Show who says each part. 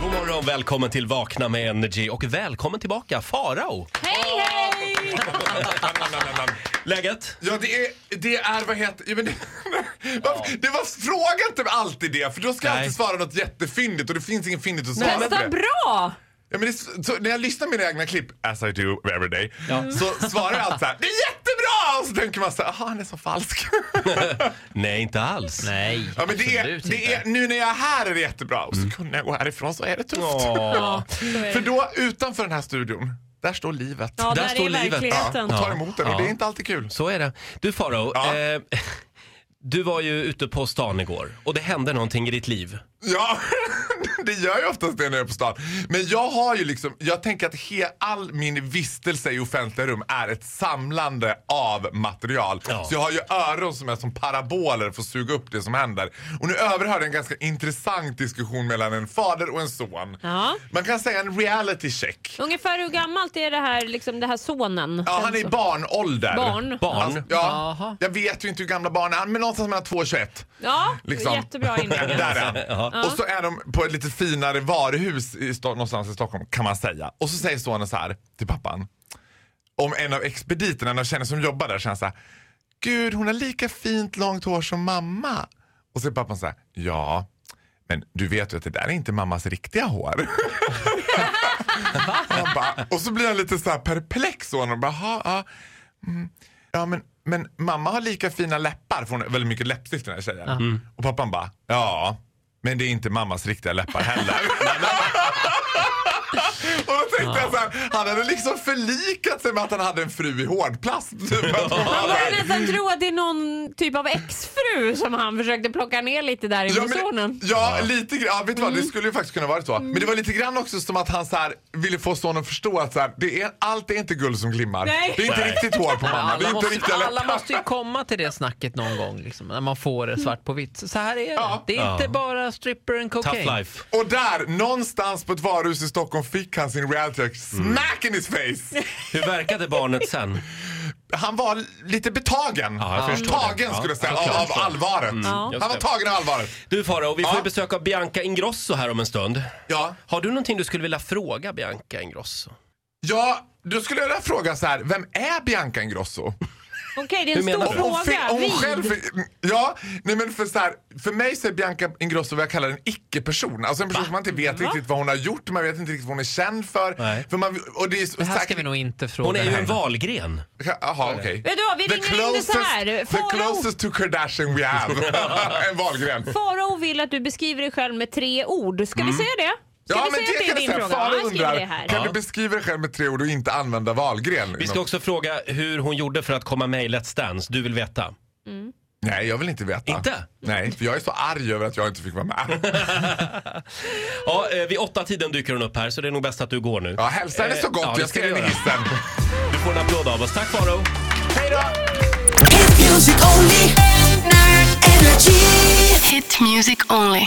Speaker 1: morgon, välkommen till Vakna med Energy och välkommen tillbaka Farao!
Speaker 2: Hej, hej!
Speaker 1: Läget?
Speaker 3: Ja, det är, det är vad heter... Ja, men det, varför- det var, fråga inte alltid det, för då ska jag
Speaker 1: Nej.
Speaker 3: alltid svara något jättefyndigt och det finns ingen fyndigt att svara
Speaker 1: Nej, men-
Speaker 3: på
Speaker 2: Testa
Speaker 3: det.
Speaker 2: bra!
Speaker 3: Ja, men det är, så, när jag lyssnar på mina egna klipp, as I do every day, så svarar jag alltid så här, det är jättebra! Och så tänker man så här, aha, han är så falsk.
Speaker 1: Nej, inte alls.
Speaker 4: Nej,
Speaker 3: Ja, men det är,
Speaker 4: absolut
Speaker 3: det är,
Speaker 4: inte.
Speaker 3: nu när jag är här är det jättebra och så kunde jag gå härifrån så är det tufft.
Speaker 1: Åh.
Speaker 3: För då, utanför den här studion, där står livet.
Speaker 2: Ja,
Speaker 1: Där
Speaker 2: där,
Speaker 1: står
Speaker 2: är
Speaker 1: livet.
Speaker 3: Ja,
Speaker 2: verkligheten.
Speaker 3: och tar emot den och det är inte alltid kul.
Speaker 1: Så är det. Du Farao,
Speaker 3: Ja.
Speaker 1: eh, du var ju ute på stan igår och det hände någonting i ditt liv.
Speaker 3: Ja, det gör ju oftast det när jag är på stan. Men jag har ju liksom, jag tänker att he, all min vistelse i offentliga rum är ett samlande av material.
Speaker 1: Ja.
Speaker 3: Så jag har ju öron som är som paraboler för att suga upp det som händer. Och nu överhörde jag en ganska intressant diskussion mellan en fader och en son.
Speaker 2: Ja.
Speaker 3: Man kan säga en reality check.
Speaker 2: Ungefär hur gammalt är det här, liksom, det här sonen? Alltså,
Speaker 3: Ja, han är i barnålder.
Speaker 2: Barn.
Speaker 1: Barn?
Speaker 3: Alltså, ja,
Speaker 4: Jaha.
Speaker 3: jag vet ju inte hur gamla barn är, men någonstans mellan 2 och 21.
Speaker 2: Ja,
Speaker 3: Liksom.
Speaker 2: jättebra inlägg.
Speaker 3: Där är han.
Speaker 1: Ja.
Speaker 3: Och så är de på ett lite finare varuhus i Sto- någonstans i Stockholm kan man säga. Och så säger sonen så här till pappan. Om en av expediterna, en av tjejerna som jobbar där, känner så här. Gud, hon har lika fint långt hår som mamma. Och så är pappan så här. Ja, men du vet ju att det där är inte mammas riktiga hår. Han bara, och så blir han lite så här perplex. Och han bara, "Jaha, ja, Ja, men, men mamma har lika fina läppar, för hon har väldigt mycket läppstift den här tjejen. Och pappan bara, ja, men det är inte mammas riktiga läppar heller. Och då tänkte jag så här, han hade liksom förlikat sig med att han hade en fru i hårdplast. Typ. Att hon
Speaker 2: Man
Speaker 3: hade-
Speaker 2: börjar nästan tro att det är någon typ av exfru som han försökte plocka ner lite där
Speaker 3: Ja,
Speaker 2: i
Speaker 3: men-
Speaker 2: sonen.
Speaker 3: ja, lite grann. Ja, vet du vad,
Speaker 4: Mm.
Speaker 3: det skulle ju faktiskt kunna vara så. Men det var lite grann också som att han så här, ville få sonen att förstå att så här, det är, allt är inte guld som glimmar.
Speaker 2: Nej.
Speaker 3: Det är inte
Speaker 1: Nej.
Speaker 3: riktigt hår på mamma, det är
Speaker 4: Alla
Speaker 3: inte
Speaker 4: måste,
Speaker 3: riktiga
Speaker 4: alla
Speaker 3: läppar.
Speaker 4: måste ju komma till det snacket någon gång, liksom, när man får det svart på vitt. Så här är det.
Speaker 3: Ja.
Speaker 4: Det är inte bara stripper and
Speaker 1: Tough
Speaker 4: cocaine.
Speaker 1: life.
Speaker 3: Och där, någonstans på ett varuhus i Stockholm fick han sin reality check
Speaker 1: Mm.
Speaker 3: smack in his face.
Speaker 1: Hur verkade barnet sen?
Speaker 3: Han var lite betagen.
Speaker 1: Ja, jag förstår det.
Speaker 3: tagen skulle jag säga,
Speaker 1: Ja,
Speaker 3: av,
Speaker 1: såklart. Mm.
Speaker 3: av allvaret.
Speaker 1: just
Speaker 3: Han var
Speaker 1: det.
Speaker 3: tagen av allvaret.
Speaker 1: Du Farao, vi får
Speaker 3: Ja.
Speaker 1: ju besök av Bianca Ingrosso här om en stund.
Speaker 3: Ja.
Speaker 1: Har du någonting du skulle vilja fråga Bianca Ingrosso?
Speaker 3: ja, då skulle jag vilja fråga så här, vem är Bianca Ingrosso?
Speaker 2: Okej, det är en
Speaker 1: Hur menar
Speaker 2: stor
Speaker 1: du?
Speaker 3: Hon, fi-
Speaker 2: fråga.
Speaker 3: hon
Speaker 2: Vid.
Speaker 3: själv, ja, nej men för, så här, för mig så är Bianca Ingrosso vad jag kallar en icke-person. Alltså en person som man inte
Speaker 2: Mm.
Speaker 3: vet riktigt vad hon har gjort, man vet inte riktigt vad hon är känd för.
Speaker 1: Nej.
Speaker 3: för man, och det, är,
Speaker 4: Det här ska vi nog inte fråga.
Speaker 1: Hon är ju en
Speaker 4: henne.
Speaker 1: valgren.
Speaker 3: Jaha, okej.
Speaker 2: Vet du vad, vi
Speaker 3: The
Speaker 2: ringer in det så här.
Speaker 3: closest-
Speaker 2: Farao.
Speaker 3: The closest to Kardashian we have. en valgren.
Speaker 2: Farao vill att du beskriver dig själv med tre ord.
Speaker 3: Mm.
Speaker 2: Ska vi säga det? Ska vi säga att det är
Speaker 3: jag
Speaker 2: din
Speaker 3: säga.
Speaker 2: fråga?
Speaker 3: Farao
Speaker 2: Ja, jag skriver
Speaker 3: undrar,
Speaker 2: det här.
Speaker 3: Kan du beskriva dig själv med tre ord och inte använda valgren?
Speaker 1: Vi ska också fråga hur hon gjorde för att komma med i Let's Dance. Du vill veta?
Speaker 3: Nej, jag vill inte veta.
Speaker 1: Inte?
Speaker 3: Nej, för jag är så arg över att jag inte fick vara med.
Speaker 1: Ja, eh, vid åtta tiden dyker hon upp här så det är nog bäst att du går nu.
Speaker 3: Ja, hälsa henne så
Speaker 1: Eh,
Speaker 3: gott.
Speaker 1: ja, det
Speaker 3: jag ska
Speaker 1: ska vi
Speaker 3: in i
Speaker 1: göra.
Speaker 3: hissen.
Speaker 1: Du får en applåd av oss. Tack Farao!
Speaker 3: Hej då!
Speaker 5: Hit music only. Energy.
Speaker 6: Hit music only.